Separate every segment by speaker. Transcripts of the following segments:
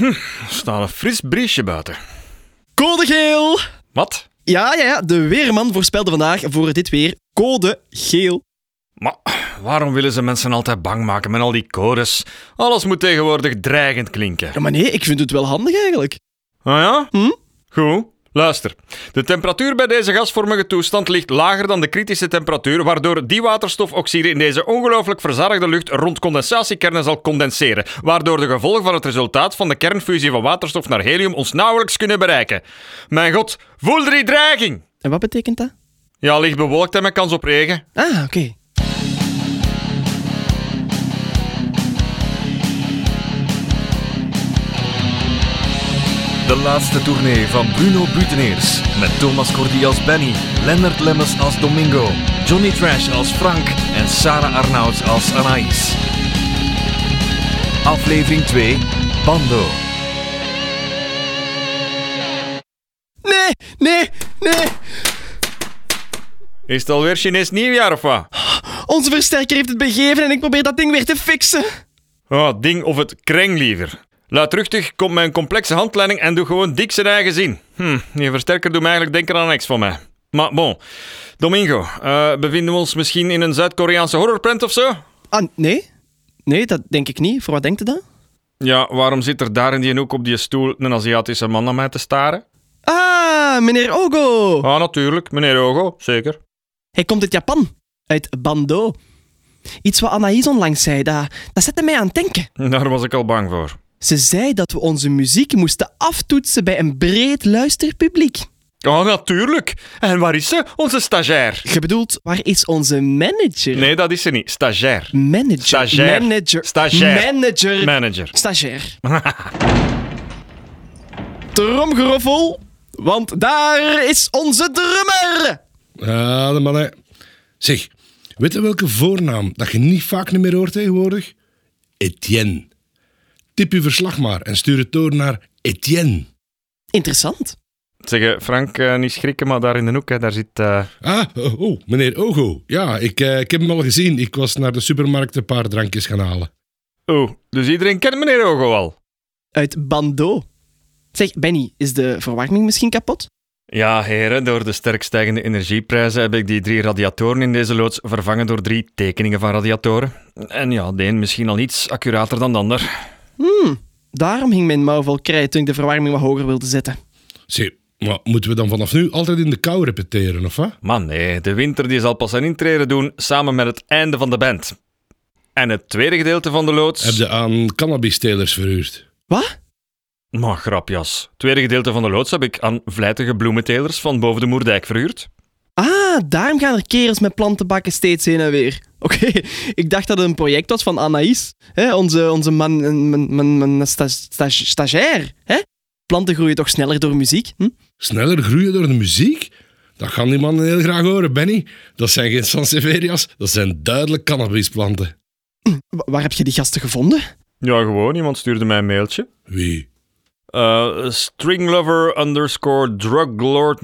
Speaker 1: Er staat een fris briesje buiten.
Speaker 2: Code geel!
Speaker 1: Wat?
Speaker 2: Ja, ja, ja, de weerman voorspelde vandaag voor dit weer code geel.
Speaker 1: Maar waarom willen ze mensen altijd bang maken met al die codes? Alles moet tegenwoordig dreigend klinken.
Speaker 2: Ja, maar nee, ik vind het wel handig eigenlijk.
Speaker 1: Ah ja?
Speaker 2: Hm?
Speaker 1: Goed. Luister, de temperatuur bij deze gasvormige toestand ligt lager dan de kritische temperatuur, waardoor die waterstofoxide in deze ongelooflijk verzarigde lucht rond condensatiekernen zal condenseren, waardoor de gevolgen van het resultaat van de kernfusie van waterstof naar helium ons nauwelijks kunnen bereiken. Mijn god, voel die dreiging!
Speaker 2: En wat betekent dat?
Speaker 1: Ja, licht bewolkt en met kans op regen.
Speaker 2: Ah, oké.
Speaker 3: De laatste tournee van Bruno Buteneers. Met Thomas Cordy als Benny, Lennart Lemmers als Domingo, Johnny Trash als Frank en Sarah Arnouds als Anaïs. Aflevering 2, Bando.
Speaker 2: Nee, nee, nee.
Speaker 1: Is het alweer Chinees nieuwjaar of wat?
Speaker 2: Onze versterker heeft het begeven en ik probeer dat ding weer te fixen.
Speaker 1: Oh, ding of het kreng liever. Luidruchtig komt mijn complexe handleiding en doe gewoon dik zijn eigen zin. Hm, die versterker doet me eigenlijk denken aan niks van mij. Maar bon, Domingo, eh, bevinden we ons misschien in een Zuid-Koreaanse horrorprint of zo?
Speaker 2: Ah, nee? Nee, dat denk ik niet. Voor wat denkt u dan?
Speaker 1: Ja, waarom zit er daar in die hoek op die stoel een Aziatische man naar mij te staren?
Speaker 2: Ah, meneer Ogo.
Speaker 1: Ah, natuurlijk, meneer Ogo, zeker.
Speaker 2: Hij komt uit Japan. Uit Bando. Iets wat Anaïs onlangs zei, dat, dat zette mij aan het denken.
Speaker 1: Daar was ik al bang voor.
Speaker 2: Ze zei dat we onze muziek moesten aftoetsen bij een breed luisterpubliek.
Speaker 1: Ah, natuurlijk. En waar is ze, onze stagiair?
Speaker 2: Je bedoelt, waar is onze manager?
Speaker 1: Nee, dat is ze niet. Stagiair.
Speaker 2: Manager.
Speaker 1: Stagiair.
Speaker 2: Manager.
Speaker 1: Stagiair.
Speaker 2: Manager.
Speaker 1: Manager.
Speaker 2: Stagiair. Tromgeroffel, want daar is onze drummer.
Speaker 4: Ja, de mannen. Zeg, weet je welke voornaam dat je niet vaak meer hoort tegenwoordig? Etienne. Tip uw verslag maar en stuur het door naar Etienne.
Speaker 2: Interessant.
Speaker 1: Zeg, eh, Frank, eh, niet schrikken, maar daar in de hoek, hè, daar zit... eh,
Speaker 4: Ah, oh, oh, meneer Ogo. Ja, ik, eh, ik heb hem al gezien. Ik was naar de supermarkt een paar drankjes gaan halen.
Speaker 1: Oh, dus iedereen kent meneer Ogo al?
Speaker 2: Uit Bando. Zeg, Benny, is de verwarming misschien kapot?
Speaker 1: Ja, heren, door de sterk stijgende energieprijzen heb ik die drie radiatoren in deze loods vervangen door drie tekeningen van radiatoren. En ja, de een misschien al iets accurater dan de ander.
Speaker 2: Daarom hing mijn mouw vol krijt toen ik de verwarming wat hoger wilde zetten.
Speaker 4: Zeg, maar moeten we dan vanaf nu altijd in de kou repeteren, of wat?
Speaker 1: Maar nee, de winter die zal pas zijn intreden doen samen met het einde van de band. En het tweede gedeelte van de loods...
Speaker 4: Heb je aan cannabis-telers verhuurd?
Speaker 2: Wat?
Speaker 1: Maar grapjas. Het tweede gedeelte van de loods heb ik aan vlijtige bloementelers van boven de Moerdijk verhuurd.
Speaker 2: Ah, daarom gaan er kerels met plantenbakken steeds heen en weer. Oké, ik dacht dat het een project was van Anaïs, hè? onze, onze man, man, man, man- sta- sta- stagiair. Hè? Planten groeien toch sneller door muziek? Hm?
Speaker 4: Sneller groeien door de muziek? Dat gaan die mannen heel graag horen, Benny. Dat zijn geen Sanseverias, dat zijn duidelijk cannabisplanten.
Speaker 2: Wa- Waar heb je die gasten gevonden?
Speaker 1: Ja, gewoon. Iemand stuurde mij een mailtje.
Speaker 4: Wie?
Speaker 1: Eh, stringlover underscore druglord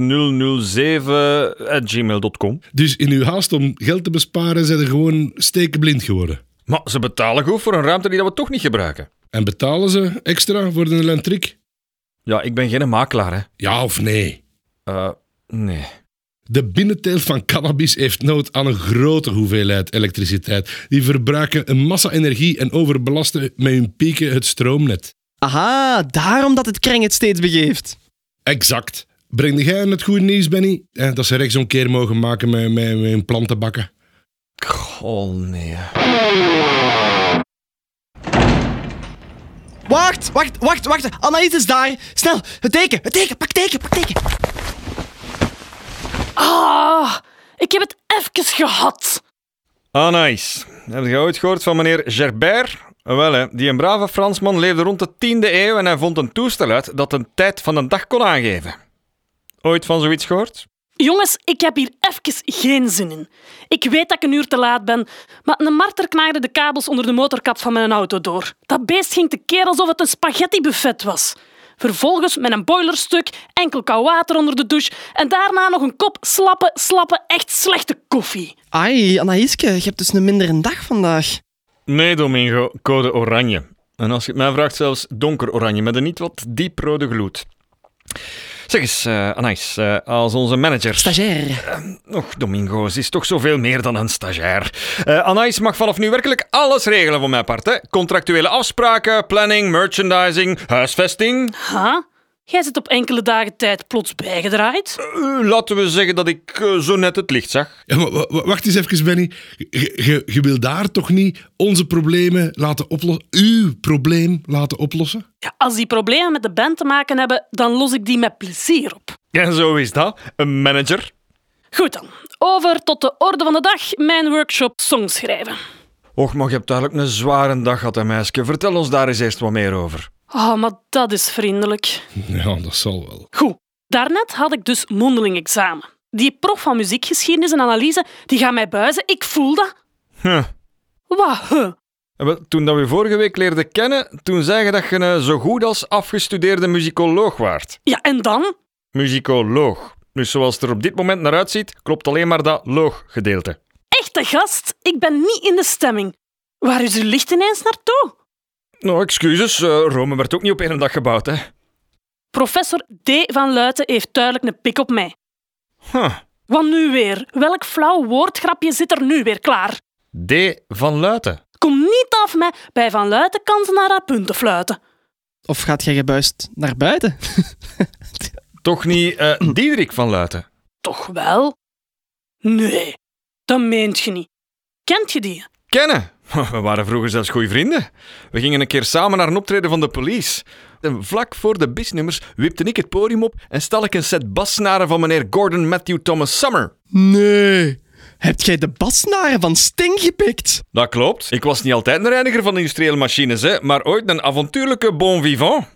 Speaker 1: 007 at gmail.com.
Speaker 4: Dus in uw haast om geld te besparen zijn er gewoon stekenblind geworden.
Speaker 1: Maar ze betalen goed voor een ruimte die dat we toch niet gebruiken.
Speaker 4: En betalen ze extra voor de lentrik?
Speaker 1: Ja, ik ben geen makelaar, hè.
Speaker 4: Ja of nee?
Speaker 1: Eh, nee.
Speaker 4: De binnenteelt van cannabis heeft nood aan een grote hoeveelheid elektriciteit. Die verbruiken een massa energie en overbelasten met hun pieken het stroomnet.
Speaker 2: Aha, daarom dat het kreng het steeds begeeft.
Speaker 4: Exact. Breng jij het goede nieuws, Benny? Eh, dat ze rechtsomkeer mogen maken met, met, met hun plantenbakken.
Speaker 1: Goh, Oh, nee.
Speaker 2: Wacht, wacht, wacht, wacht. Anaïs is daar. Snel, het teken, het teken, pak teken, pak teken.
Speaker 5: Ah, ik heb het even gehad.
Speaker 1: Ah, nice. Heb je ooit gehoord van meneer Gerbert? Wel, hè. Die een brave Fransman leefde rond de 10e eeuw en hij vond een toestel uit dat een tijd van een dag kon aangeven. Ooit van zoiets gehoord?
Speaker 5: Jongens, ik heb hier even geen zin in. Ik weet dat ik een uur te laat ben, maar een marter knaagde de kabels onder de motorkap van mijn auto door. Dat beest ging te keer alsof het een spaghettibuffet was. Vervolgens met een boilerstuk, enkel koud water onder de douche en daarna nog een kop slappe, slappe, echt slechte koffie.
Speaker 2: Ai, Anaïske, je hebt dus een minder een dag vandaag.
Speaker 1: Nee, Domingo. Code oranje. En als je het mij vraagt, zelfs donker oranje met een niet wat dieprode gloed. Zeg eens, eh Anais, eh, als onze manager...
Speaker 2: Stagiair.
Speaker 1: Och, Domingo, ze is toch zoveel meer dan een stagiair. Eh Anais mag vanaf nu werkelijk alles regelen voor mijn part. Hè? Contractuele afspraken, planning, merchandising, huisvesting.
Speaker 5: Ha? Jij zit op enkele dagen tijd plots bijgedraaid?
Speaker 1: Eh, laten we zeggen dat ik eh, zo net het licht zag.
Speaker 4: Ja, maar wa- wa- wacht eens even, Benny. Je- Je je wil daar toch niet onze problemen laten oplossen? Uw probleem laten oplossen?
Speaker 5: Ja, als die problemen met de band te maken hebben, dan los ik die met plezier op.
Speaker 1: En zo is dat. Een manager.
Speaker 5: Goed dan. Over tot de orde van de dag, mijn workshop songschrijven.
Speaker 1: Och, maar je hebt duidelijk een zware dag gehad, hè, meisje. Vertel ons daar eens eerst wat meer over.
Speaker 5: Oh, maar dat is vriendelijk.
Speaker 4: Ja, dat zal wel.
Speaker 5: Goed, daarnet had ik dus mondeling examen. Die prof van muziekgeschiedenis en analyse, die gaat mij buizen. Ik voel dat.
Speaker 1: Huh.
Speaker 5: Wat? huh?
Speaker 1: Eh, wel, Toen dat we je vorige week leerden kennen, toen zei je dat je een zo goed als afgestudeerde muzikoloog waart.
Speaker 5: Ja, en dan?
Speaker 1: Muzikoloog. Dus zoals het er op dit moment naar uitziet, klopt alleen maar dat loog-gedeelte.
Speaker 5: Echte gast, ik ben niet in de stemming. Waar is uw licht ineens naartoe?
Speaker 1: Nou, excuses, eh, Rome werd ook niet op één dag gebouwd, hè.
Speaker 5: Professor D. van Luiten heeft duidelijk een pik op mij.
Speaker 1: Huh.
Speaker 5: Wat nu weer? Welk flauw woordgrapje zit er nu weer klaar?
Speaker 1: D. van Luiten.
Speaker 5: Kom niet af mij, bij Van Luiten kan ze naar haar punten fluiten.
Speaker 2: Of gaat jij gebuist naar buiten?
Speaker 1: Toch niet eh Diederik van Luiten?
Speaker 5: Toch wel? Nee, dat meent je niet. Kent je die?
Speaker 1: Kennen. We waren vroeger zelfs goede vrienden. We gingen een keer samen naar een optreden van de police. En vlak voor de bisnummers wipte ik het podium op en stal ik een set bassnaren van meneer Gordon Matthew Thomas Summer.
Speaker 2: Nee. Hebt jij de basnaren van Sting gepikt?
Speaker 1: Dat klopt. Ik was niet altijd een reiniger van industriële machines, hè, maar ooit een avontuurlijke bon vivant.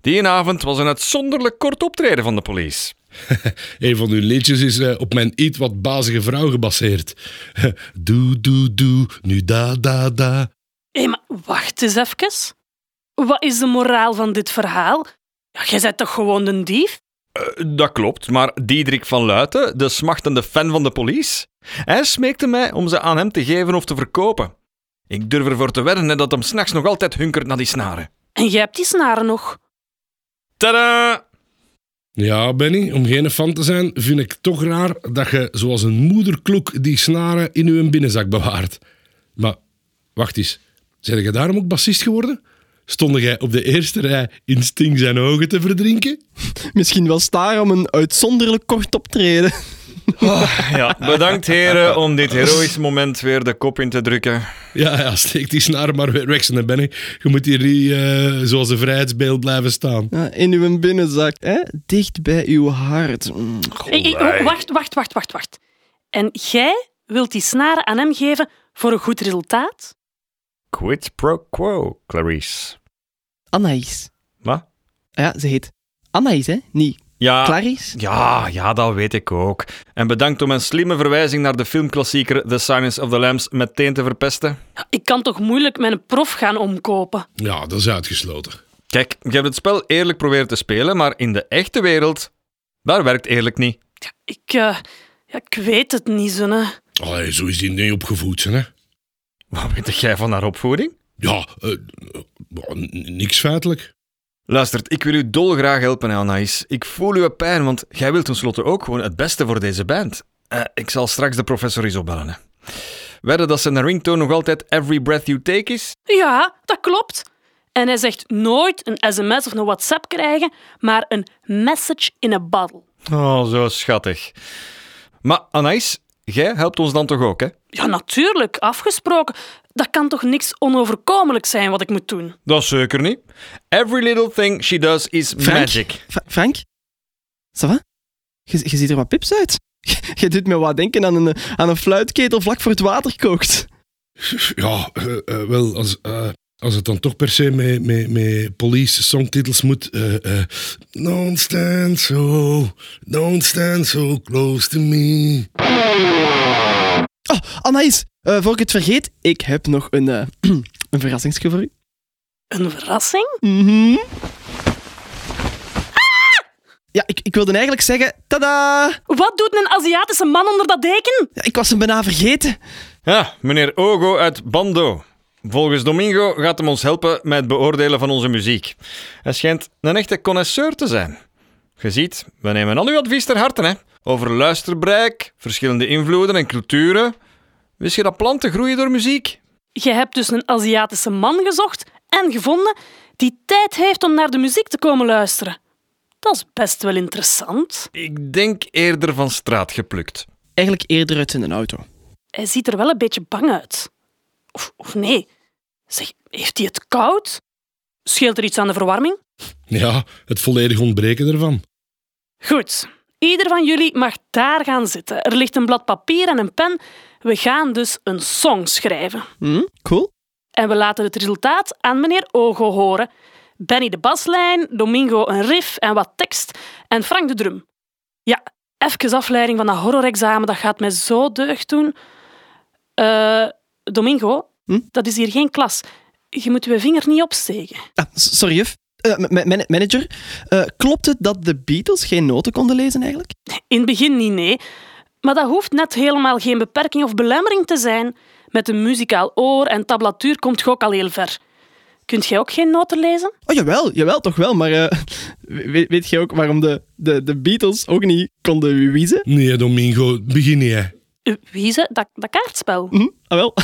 Speaker 1: Die avond was een uitzonderlijk kort optreden van de police.
Speaker 4: Een van uw liedjes is eh, op mijn iets wat bazige vrouw gebaseerd. Doe, doe, doe, nu da, da, da.
Speaker 5: Hé, maar wacht eens even. Wat is de moraal van dit verhaal? Ja, jij bent toch gewoon een dief?
Speaker 1: Dat klopt, maar Diederik van Luiten, de smachtende fan van de police, hij smeekte mij om ze aan hem te geven of te verkopen. Ik durf ervoor te wedden hè, dat hem s'nachts nog altijd hunkert naar die snaren.
Speaker 5: En jij hebt die snaren nog.
Speaker 1: Tada!
Speaker 4: Ja, Benny, om geen fan te zijn, vind ik toch raar dat je zoals een moederkloek die snaren in uw binnenzak bewaart. Maar wacht eens, zijn jij daarom ook bassist geworden? Stonden jij op de eerste rij in Sting zijn ogen te verdrinken?
Speaker 2: Misschien wel staar om een uitzonderlijk kort optreden.
Speaker 1: Ja, bedankt heren om dit heroïsche moment weer de kop in te drukken.
Speaker 4: Ja, ja, steek die snaar maar weer weg, dan Benny. Je moet hier niet eh, zoals een vrijheidsbeeld blijven staan.
Speaker 2: Ja, eh, in uw binnenzak, hè? dicht bij uw hart. Mm.
Speaker 5: Hé, hé, oh, wacht, wacht, wacht, wacht, wacht. En jij wilt die snaren aan hem geven voor een goed resultaat?
Speaker 1: Quid pro quo, Clarice.
Speaker 2: Anaïs. Ah
Speaker 1: Wat?
Speaker 2: Ja, ze heet Anaïs, hè? Niet
Speaker 1: Ja,
Speaker 2: Clarice?
Speaker 1: Ja, ja, dat weet ik ook. En bedankt om een slimme verwijzing naar de filmklassieker The Silence of the Lambs meteen te verpesten.
Speaker 5: Ja, Ik kan toch moeilijk mijn prof gaan omkopen?
Speaker 4: Ja, dat is uitgesloten.
Speaker 1: Kijk, je hebt het spel eerlijk proberen te spelen, maar in de echte wereld, daar werkt eerlijk niet.
Speaker 5: Ja, ik, eh, ja, ik weet het niet, zonne.
Speaker 4: Allee, zo is die niet opgevoed, zijn, hè?
Speaker 1: Wat weet jij van haar opvoeding?
Speaker 4: Ja, eh, eh, n- niks feitelijk.
Speaker 1: Luistert, ik wil u dolgraag helpen, Anaïs. Ik voel uw pijn, want jij wilt tenslotte ook gewoon het beste voor deze band. Eh, ik zal straks de professor eens opbellen. hè. Wedden dat zijn ringtone nog altijd Every Breath You Take is?
Speaker 5: Ja, dat klopt. En hij zegt nooit een sms of een WhatsApp krijgen, maar een message in a bottle.
Speaker 1: Oh, zo schattig. Maar Anaïs, jij helpt ons dan toch ook, hè?
Speaker 5: Ja, natuurlijk, afgesproken. Dat kan toch niks onoverkomelijk zijn wat ik moet doen?
Speaker 1: Dat zeker niet. Every little thing she does is magic.
Speaker 2: Fra- Frank? Ça va? Je, je ziet er wat pips uit. Je doet me wat denken aan een, aan een fluitketel vlak voor het water kookt.
Speaker 4: Ja, eh, eh, wel, als, eh, als het dan toch per se met, met, met police songtitels moet. eh, eh, don't stand so, don't stand so close to me.
Speaker 2: Oh, Anaïs, eh, voor ik het vergeet, ik heb nog een, eh, een verrassingsje voor u.
Speaker 5: Een verrassing?
Speaker 2: Mhm. Ja, ik, ik wilde eigenlijk zeggen, tada!
Speaker 5: Wat doet een Aziatische man onder dat deken?
Speaker 2: Ja, ik was hem bijna vergeten.
Speaker 1: Ja, meneer Ogo uit Bando. Volgens Domingo gaat hem ons helpen met het beoordelen van onze muziek. Hij schijnt een echte connoisseur te zijn. Je ziet, we nemen al uw advies ter harte, hè. Over luisterbereik, verschillende invloeden en culturen. Wist je dat planten groeien door muziek?
Speaker 5: Je hebt dus een Aziatische man gezocht en gevonden die tijd heeft om naar de muziek te komen luisteren. Dat is best wel interessant.
Speaker 1: Ik denk eerder van straat geplukt.
Speaker 2: Eigenlijk eerder uit in een auto.
Speaker 5: Hij ziet er wel een beetje bang uit. Of, of nee. Zeg, heeft hij het koud? Scheelt er iets aan de verwarming?
Speaker 4: Ja, het volledig ontbreken ervan.
Speaker 5: Goed. Ieder van jullie mag daar gaan zitten. Er ligt een blad papier en een pen. We gaan dus een song schrijven.
Speaker 2: Hm? Cool.
Speaker 5: En we laten het resultaat aan meneer Ogo horen. Benny de baslijn, Domingo een riff en wat tekst en Frank de drum. Ja, even afleiding van dat horrorexamen, dat gaat mij zo deugd doen. Eh, Domingo,
Speaker 2: Hm?
Speaker 5: dat is hier geen klas. Je moet je vinger niet opsteken.
Speaker 2: Ah, s- sorry, juf. Eh, m- m- manager, eh, klopt het dat de Beatles geen noten konden lezen eigenlijk?
Speaker 5: In het begin niet, nee. Maar dat hoeft net helemaal geen beperking of belemmering te zijn. Met een muzikaal oor en tablatuur komt je ook al heel ver. Kunt jij ook geen noten lezen?
Speaker 2: Oh, jawel, jawel, toch wel. Maar eh, we- weet, je ook waarom de, de, de Beatles ook niet konden wiezen?
Speaker 4: Nee, Domingo, begin niet, hè.
Speaker 5: Eh, Wie is het? dat, dat kaartspel?
Speaker 2: Hm? Ah, wel.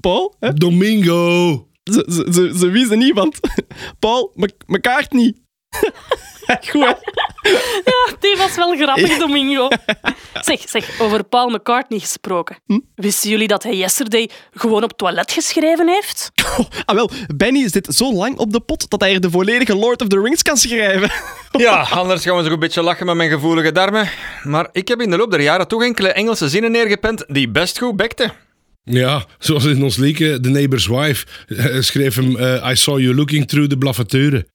Speaker 2: Paul, hè?
Speaker 4: Domingo!
Speaker 2: Ze, ze, ze, ze wiezen niet, want Paul, me- me kaart niet. Goed, hè?
Speaker 5: Die was wel grappig, Domingo. Zeg, zeg, over Paul McCartney gesproken.
Speaker 2: Hm?
Speaker 5: Wisten jullie dat hij Yesterday gewoon op toilet geschreven heeft?
Speaker 2: Oh, ah, wel, Benny zit zo lang op de pot dat hij er de volledige Lord of the Rings kan schrijven.
Speaker 1: Ja, anders gaan we nog een beetje lachen met mijn gevoelige darmen. Maar ik heb in de loop der jaren toch enkele Engelse zinnen neergepend die best goed bekten.
Speaker 4: Ja, zoals in ons liedje The Neighbor's Wife eh, schreef hem eh, I saw you looking through the blaffaturen.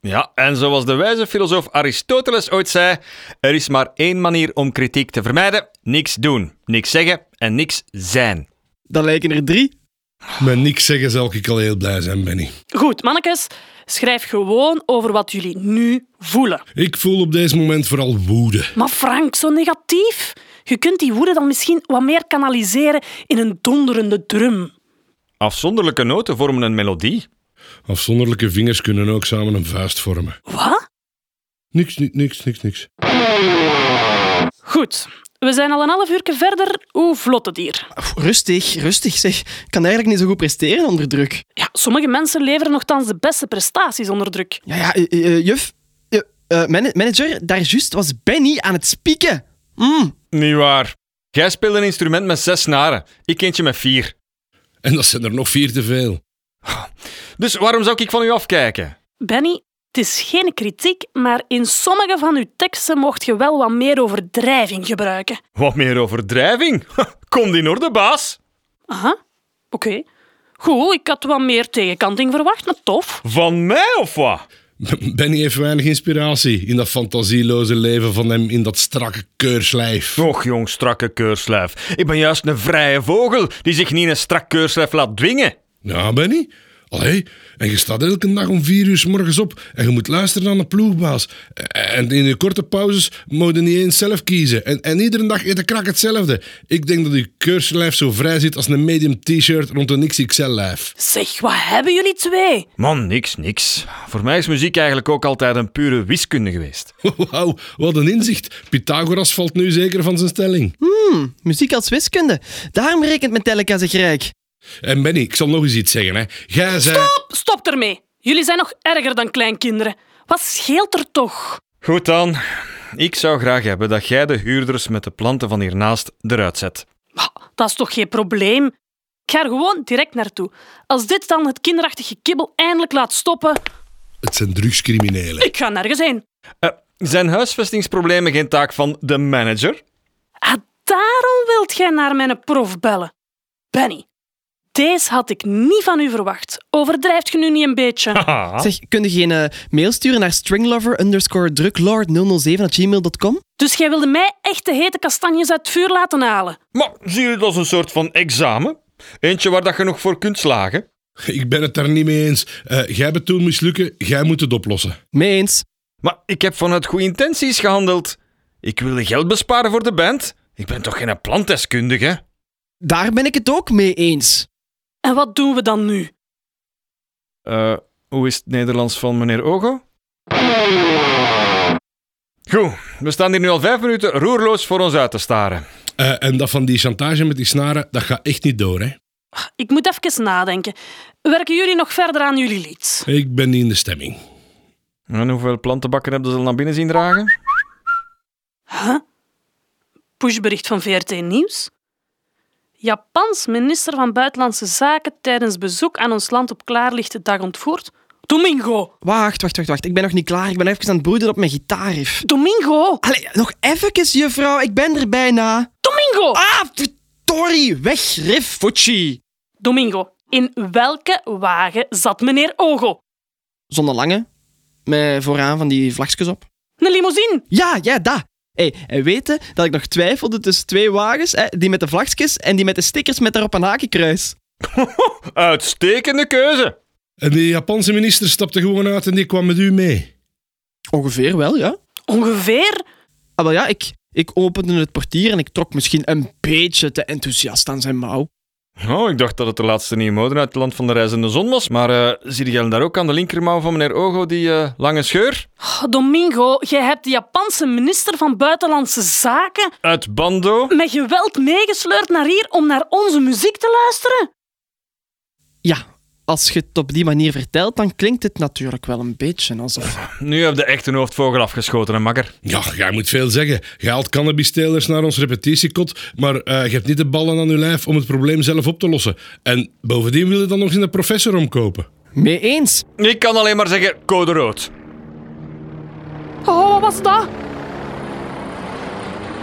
Speaker 1: Ja, en zoals de wijze filosoof Aristoteles ooit zei, er is maar één manier om kritiek te vermijden: niks doen, niks zeggen en niks zijn.
Speaker 2: Dan lijken er drie.
Speaker 4: Met niks zeggen zal ik al heel blij zijn, Benny.
Speaker 5: Goed, mannekes, schrijf gewoon over wat jullie nu voelen.
Speaker 4: Ik voel op deze moment vooral woede.
Speaker 5: Maar Frank, zo negatief. Je kunt die woede dan misschien wat meer kanaliseren in een donderende drum.
Speaker 1: Afzonderlijke noten vormen een melodie.
Speaker 4: Afzonderlijke vingers kunnen ook samen een vuist vormen.
Speaker 5: Wat?
Speaker 4: Niks, niks, niks, niks, niks.
Speaker 5: Goed, we zijn al een half uur verder. Hoe vlot het hier?
Speaker 2: Oef, Rustig, rustig, zeg. Ik kan eigenlijk niet zo goed presteren onder druk.
Speaker 5: Ja, sommige mensen leveren nogthans de beste prestaties onder druk.
Speaker 2: Ja, ja, eh, eh, juf. Eh, eh, man- manager, daar juist was Benny aan het spieken. Mm.
Speaker 1: Niet waar. Jij speelt een instrument met zes snaren, ik eentje met vier.
Speaker 4: En dat zijn er nog vier te veel.
Speaker 1: Dus waarom zou ik van u afkijken?
Speaker 5: Benny, het is geen kritiek, maar in sommige van uw teksten mocht je wel wat meer overdrijving gebruiken.
Speaker 1: Wat meer overdrijving? Kom in orde, baas.
Speaker 5: Aha, oké. Goed, ik had wat meer tegenkanting verwacht, maar tof.
Speaker 1: Van mij of wat?
Speaker 4: Benny heeft weinig inspiratie in dat fantasieloze leven van hem in dat strakke keurslijf.
Speaker 1: Och, jong, strakke keurslijf. Ik ben juist een vrije vogel die zich niet in een strak keurslijf laat dwingen.
Speaker 4: Ja, Benny? Allee, en je staat elke dag om vier uur 's morgens op en je moet luisteren aan de ploegbaas. Eh, En in je korte pauzes moet je niet eens zelf kiezen. En, en iedere dag eet de krak hetzelfde. Ik denk dat je keurslijf zo vrij zit als een medium t-shirt rond een XXL-lijf.
Speaker 5: Zeg, wat hebben jullie twee?
Speaker 1: Man, niks, niks. Voor mij is muziek eigenlijk ook altijd een pure wiskunde geweest.
Speaker 4: Wauw, wat een inzicht. Pythagoras valt nu zeker van zijn stelling.
Speaker 2: Muziek als wiskunde. Daarom rekent Metallica zich rijk.
Speaker 4: En Benny, ik zal nog eens iets zeggen. Hè. Jij zei...
Speaker 5: Stop, stop ermee. Jullie zijn nog erger dan kleinkinderen. Wat scheelt er toch?
Speaker 1: Goed dan. Ik zou graag hebben dat jij de huurders met de planten van hiernaast eruit zet.
Speaker 5: Ah, Dat is toch geen probleem? Ik ga er gewoon direct naartoe. Als dit dan het kinderachtige kibbel eindelijk laat stoppen,
Speaker 4: Het zijn drugscriminelen.
Speaker 5: ik ga nergens heen.
Speaker 1: Eh, zijn huisvestingsproblemen geen taak van de manager?
Speaker 5: Ah, daarom wilt jij naar mijn prof bellen. Benny, deze had ik niet van u verwacht. Overdrijft je nu niet een beetje?
Speaker 2: Zeg, kun je geen eh, mail sturen naar stringlover underscore druklord007.gmail.com?
Speaker 5: Dus jij wilde mij echt de hete kastanjes uit het vuur laten halen.
Speaker 1: Maar zie je het als een soort van examen? Eentje waar dat je nog voor kunt slagen?
Speaker 4: Ik ben het daar niet mee eens. Eh, jij hebt het toen mislukken, jij moet het oplossen.
Speaker 2: Meens.
Speaker 1: Maar ik heb vanuit goede intenties gehandeld. Ik wilde geld besparen voor de band. Ik ben toch geen plantdeskundige?
Speaker 2: Daar ben ik het ook mee eens.
Speaker 5: En wat doen we dan nu?
Speaker 1: Eh, hoe is het Nederlands van meneer Ogo? Goed, we staan hier nu al vijf minuten roerloos voor ons uit te staren.
Speaker 4: Eh, en dat van die chantage met die snaren, dat gaat echt niet door, hè.
Speaker 5: Ik moet even nadenken. Werken jullie nog verder aan jullie lied?
Speaker 4: Ik ben niet in de stemming.
Speaker 1: En hoeveel plantenbakken hebben ze al naar binnen zien dragen?
Speaker 5: Huh? Pushbericht van VRT Nieuws? Japans minister van Buitenlandse Zaken tijdens bezoek aan ons land op klaarlichte dag ontvoerd? Domingo!
Speaker 2: Wacht, wacht, wacht, wacht. Ik ben nog niet klaar. Ik ben even aan het broeden op mijn gitaarriff.
Speaker 5: Domingo!
Speaker 2: Allee, nog even, juffrouw. Ik ben er bijna.
Speaker 5: Domingo!
Speaker 2: Ah, Tori, weg, riff, Fucci.
Speaker 5: Domingo, in welke wagen zat meneer Ogo?
Speaker 2: Zonder lange. Met vooraan van die vlagjes op.
Speaker 5: Een limousine?
Speaker 2: Ja, ja, dat. Hey, en weten dat ik nog twijfelde tussen twee wagens, hè, die met de vlagjes en die met de stickers met daarop een hakenkruis.
Speaker 1: Uitstekende keuze!
Speaker 4: En die Japanse minister stapte gewoon uit en die kwam met u mee.
Speaker 2: Ongeveer wel, ja.
Speaker 5: Ongeveer?
Speaker 2: Ah, wel ja, ik, ik opende het portier en ik trok misschien een beetje te enthousiast aan zijn mouw.
Speaker 1: Oh, ik dacht dat het de laatste nieuwe mode uit het land van de reizende zon was. Maar eh, zie je daar ook aan de linkermouw van meneer Ogo die eh, lange scheur?
Speaker 5: Oh, Domingo, jij hebt de Japanse minister van Buitenlandse Zaken
Speaker 1: Uit Bando?
Speaker 5: met geweld meegesleurd naar hier om naar onze muziek te luisteren?
Speaker 2: Ja, als je het op die manier vertelt, dan klinkt het natuurlijk wel een beetje alsof...
Speaker 1: Nu heb je echt een hoofdvogel afgeschoten, hè, makker.
Speaker 4: Ja, jij moet veel zeggen. Je haalt cannabistelers naar ons repetitiekot, maar eh, je hebt niet de ballen aan je lijf om het probleem zelf op te lossen. En bovendien wil je dan nog eens een professor omkopen.
Speaker 2: Mee eens.
Speaker 1: Ik kan alleen maar zeggen, code rood.
Speaker 5: Oh, wat was dat?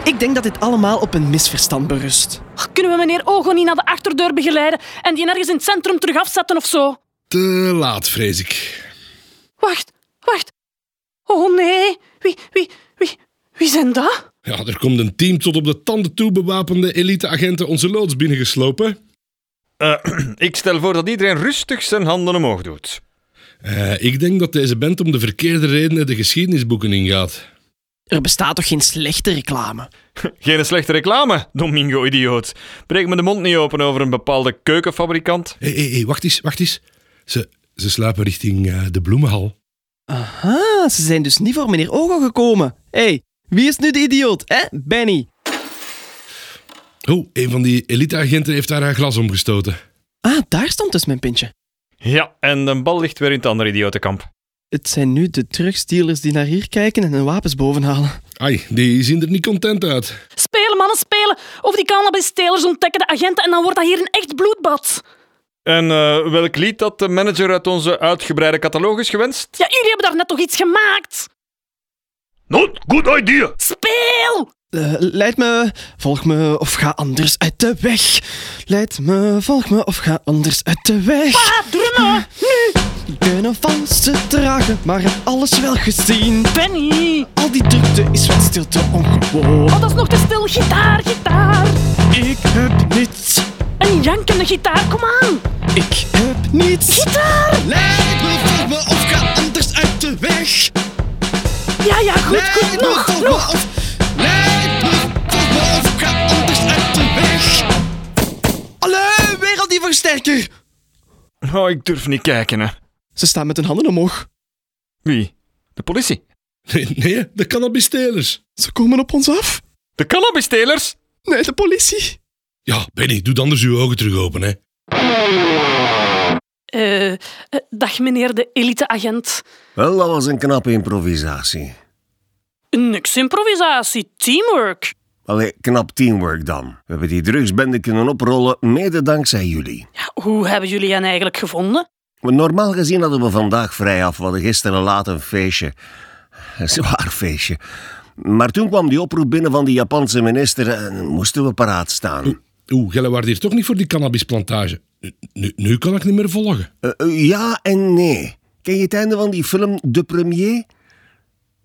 Speaker 2: Ik denk dat dit allemaal op een misverstand berust.
Speaker 5: Oh, Kunnen we meneer Ogo niet naar de achterdeur begeleiden en die ergens in het centrum terug afzetten of zo?
Speaker 4: Te laat, vrees ik.
Speaker 5: Wacht, wacht. Oh nee, wie, wie, wie, wie zijn dat?
Speaker 4: Ja, er komt een team tot op de tanden toe bewapende eliteagenten onze loods binnengeslopen.
Speaker 1: Eh, ik stel voor dat iedereen rustig zijn handen omhoog doet.
Speaker 4: Eh, ik denk dat deze band om de verkeerde redenen de geschiedenisboeken ingaat.
Speaker 2: Er bestaat toch geen slechte reclame?
Speaker 1: Geen slechte reclame, Domingo, idioot. Breek me de mond niet open over een bepaalde keukenfabrikant.
Speaker 4: Hé, hé, hé, wacht eens, wacht eens. Ze, ze slapen richting eh, de bloemenhal.
Speaker 2: Aha, ze zijn dus niet voor meneer Ogo gekomen. Hé, hey, wie is nu de idioot, hè? Benny.
Speaker 4: Oh, een van die eliteagenten heeft daar haar glas omgestoten.
Speaker 2: Ah, daar stond dus mijn pintje.
Speaker 1: Ja, en de bal ligt weer in het andere idiotenkamp.
Speaker 2: Het zijn nu de drugsdealers die naar hier kijken en hun wapens bovenhalen.
Speaker 4: Ai, die zien er niet content uit.
Speaker 5: Spelen, mannen, spelen. Of die cannabis-telers ontdekken de agenten en dan wordt dat hier een echt bloedbad.
Speaker 1: En eh, welk lied had de manager uit onze uitgebreide catalogus gewenst?
Speaker 5: Ja, jullie hebben daar net toch iets gemaakt?
Speaker 1: Not good idea!
Speaker 5: Speel!
Speaker 2: Eh, leid me, volg me of ga anders uit de weg. Leid me, volg me of ga anders uit de weg.
Speaker 5: Ah, drummen! Nu!
Speaker 2: Kunnen van ze dragen, maar heb alles wel gezien.
Speaker 5: Benny!
Speaker 2: Al die drukte is wat stilte ongewoon.
Speaker 5: Oh, dat is nog te stil. Gitaar, gitaar.
Speaker 2: Ik heb niets,
Speaker 5: Een jankende gitaar, kom aan.
Speaker 2: ik heb niets.
Speaker 5: Gitaar!
Speaker 2: Leid me, volg me of ga anders uit de weg.
Speaker 5: Ja, ja, goed,
Speaker 2: Leid
Speaker 5: goed.
Speaker 2: me,
Speaker 5: Nog,
Speaker 2: volg me
Speaker 5: nog.
Speaker 2: of... Leid me, volg me of ga anders uit de weg. Allee, weer al die versterker.
Speaker 1: Oh, ik durf niet kijken, hè.
Speaker 2: Ze staan met hun handen omhoog.
Speaker 1: Wie? De politie?
Speaker 4: Nee, nee de cannabistelers.
Speaker 2: Ze komen op ons af.
Speaker 1: De cannabis-telers?
Speaker 2: Nee, de politie.
Speaker 4: Ja, Benny, doe anders uw ogen terug open, hè.
Speaker 5: Eh, eh, dag, meneer de elite-agent.
Speaker 6: Wel, dat was een knappe improvisatie.
Speaker 5: Niks improvisatie, teamwork.
Speaker 6: Allee, knap teamwork dan. We hebben die drugsbende kunnen oprollen, mede dankzij jullie.
Speaker 5: Hoe hebben jullie hen eigenlijk gevonden?
Speaker 6: Want Normaal gezien hadden we vandaag vrij af, we hadden gisteren laat een feestje. Een zwaar feestje. Maar toen kwam die oproep binnen van die Japanse minister en moesten we paraat staan.
Speaker 4: Oeh, jullie waren hier toch niet voor die cannabisplantage. Nu, nu, nu kan ik niet meer volgen.
Speaker 6: Eh, eh, ja en nee. Ken je het einde van die film De Premier?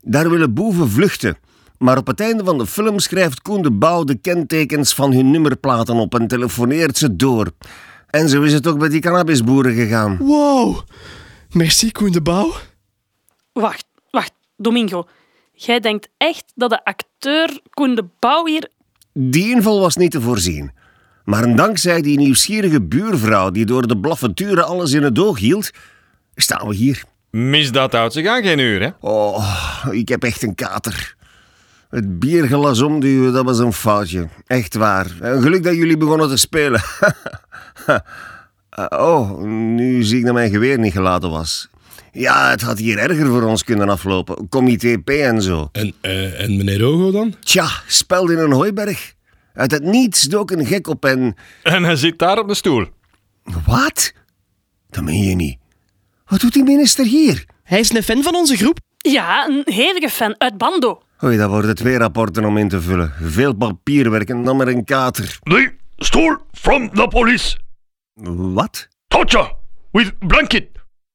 Speaker 6: Daar willen boeven vluchten. Maar op het einde van de film schrijft Koen de Bouw de kentekens van hun nummerplaten op en telefoneert ze door. En zo is het ook bij die cannabisboeren gegaan.
Speaker 2: Wow. Merci, Koen de Bouw.
Speaker 5: Wacht, wacht, Domingo. Jij denkt echt dat de acteur Koen de Bouw hier...
Speaker 6: Die inval was niet te voorzien. Maar dankzij die nieuwsgierige buurvrouw die door de blaffeturen alles in het oog hield, staan we hier.
Speaker 1: Misdaad houdt zich aan geen uur, hè?
Speaker 6: Oh, ik heb echt een kater. Het bierglas omduwen, dat was een foutje. Echt waar. En geluk dat jullie begonnen te spelen. Eh, oh, nu zie ik dat mijn geweer niet geladen was. Ja, het had hier erger voor ons kunnen aflopen. Comité P en zo.
Speaker 4: En, eh, en meneer Ogo dan?
Speaker 6: Tja, speld in een hooiberg. Uit het niets dook een gek op en...
Speaker 1: En hij zit daar op de stoel.
Speaker 6: Wat? Dat meen je niet. Wat doet die minister hier?
Speaker 2: Hij is een fan van onze groep.
Speaker 5: Ja, een hevige fan uit Bando.
Speaker 6: Oei, dat worden twee rapporten om in te vullen. Veel papierwerk en dan maar een kater.
Speaker 7: They stole from the police.
Speaker 6: Wat?
Speaker 7: Torture with blanket.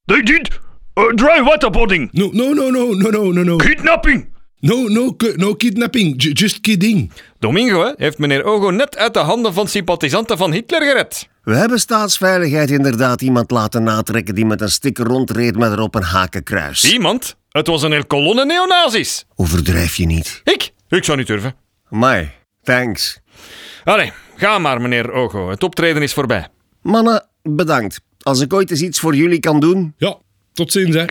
Speaker 7: They did uh, dry waterboarding.
Speaker 4: No, no, no, no, no, no, no, no.
Speaker 7: Kidnapping.
Speaker 4: No, no, ki- no kidnapping. Ju- just kidding.
Speaker 1: Domingo hè, heeft meneer Ogo net uit de handen van sympathisanten van Hitler gered.
Speaker 6: We hebben staatsveiligheid inderdaad iemand laten natrekken die met een sticker rondreed met erop een hakenkruis.
Speaker 1: Iemand? Het was een hele kolonne neonazis.
Speaker 6: Overdrijf je niet.
Speaker 1: Ik? Ik zou niet durven.
Speaker 6: Mai, thanks.
Speaker 1: Allee, ga maar, meneer Ogo. Het optreden is voorbij.
Speaker 6: Mannen, bedankt. Als ik ooit eens iets voor jullie kan doen.
Speaker 4: Ja, tot ziens, hè.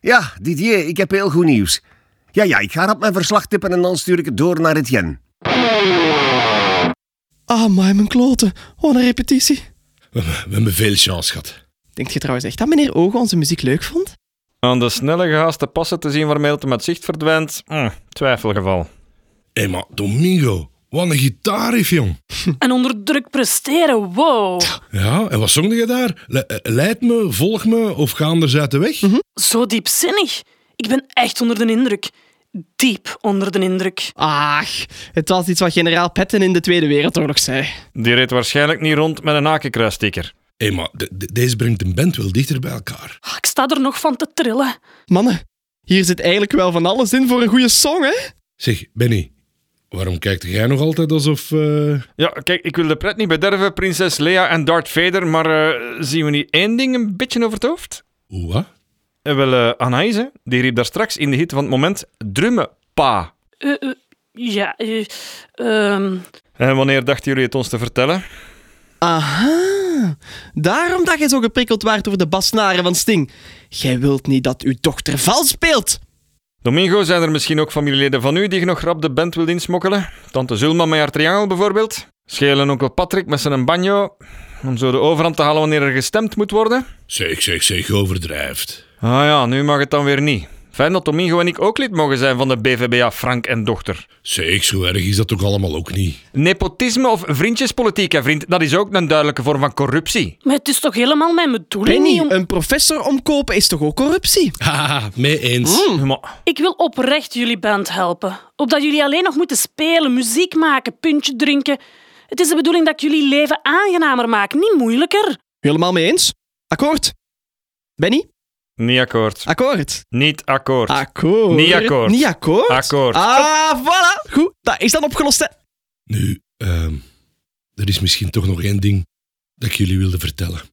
Speaker 6: Ja, Didier, ik heb heel goed nieuws. Ja, ja, ik ga op mijn verslag tippen en dan stuur ik het door naar Etienne.
Speaker 2: Ah, maar mijn kloten. Oh, een repetitie.
Speaker 4: We, we hebben veel chance gehad.
Speaker 2: Denkt je trouwens echt dat meneer Ogo onze muziek leuk vond?
Speaker 1: Aan de snelle gehaaste passen te zien waarmee het hem uit zicht verdwijnt. Hm, twijfelgeval.
Speaker 4: Hé, maar Domingo, wat een gitaar heeft, jong.
Speaker 5: En onder druk presteren, wow.
Speaker 4: Ja, en wat zong je daar? Le- eh, leid me, volg me of ga anders uit de weg?
Speaker 5: Zo diepzinnig. Ik ben echt onder de indruk. Diep onder de indruk.
Speaker 2: Ach, het was iets wat generaal Patton in de Tweede Wereldoorlog zei.
Speaker 1: Die reed waarschijnlijk niet rond met een hakenkruisticker.
Speaker 4: Hé, maar de- de- deze brengt een band wel dichter bij elkaar.
Speaker 5: Ah, Ik sta er nog van te trillen.
Speaker 2: Mannen, hier zit eigenlijk wel van alles in voor een goede song, hè?
Speaker 4: Zeg, Benny, waarom kijkt jij nog altijd alsof... eh,
Speaker 1: Ja, kijk, ik wil de pret niet bederven, prinses Leia en Darth Vader, maar eh, zien we niet één ding een beetje over het hoofd?
Speaker 4: Hoe, wat?
Speaker 1: Eh, wel, eh Anaïs, hè, die riep daar straks in de hitte van het moment drummen, pa.
Speaker 5: Eh, eh, ja, eh, ehm,
Speaker 1: En wanneer dachten jullie het ons te vertellen?
Speaker 2: Aha, daarom dat je zo geprikkeld waart door de basnaren van Sting. Jij wilt niet dat uw dochter vals speelt.
Speaker 1: Domingo, zijn er misschien ook familieleden van u die je nog rap de band wilt insmokkelen? Tante Zulma met haar triangel bijvoorbeeld? Schelen onkel Patrick met zijn banjo? Om zo de overhand te halen wanneer er gestemd moet worden?
Speaker 4: Zeg, zeg, zeg, overdrijft.
Speaker 1: Ah ja, nu mag het dan weer niet. Fijn dat Domingo en ik ook lid mogen zijn van de BVBA Frank en Dochter.
Speaker 4: Zeg, zo erg is dat toch allemaal ook niet?
Speaker 1: Nepotisme of vriendjespolitiek, hè vriend, dat is ook een duidelijke vorm van corruptie.
Speaker 5: maar het is toch helemaal mijn bedoeling niet
Speaker 2: Penny,
Speaker 5: om...
Speaker 2: een professor omkopen is toch ook corruptie?
Speaker 4: Haha, mee eens.
Speaker 1: Maar
Speaker 5: Ik wil oprecht jullie band helpen. Opdat jullie alleen nog moeten spelen, muziek maken, puntje drinken. Het is de bedoeling dat ik jullie leven aangenamer maak, niet moeilijker.
Speaker 2: Helemaal mee eens? Akkoord. Benny,
Speaker 1: niet akkoord.
Speaker 2: akkoord.
Speaker 1: Niet akkoord.
Speaker 2: Akkoord.
Speaker 1: Niet akkoord.
Speaker 2: Niet akkoord?
Speaker 1: Akkoord.
Speaker 2: Ah, voilà. Goed, dat is dan opgelost, hè.
Speaker 4: Nu, ehm, er is misschien toch nog één ding dat ik jullie wilde vertellen.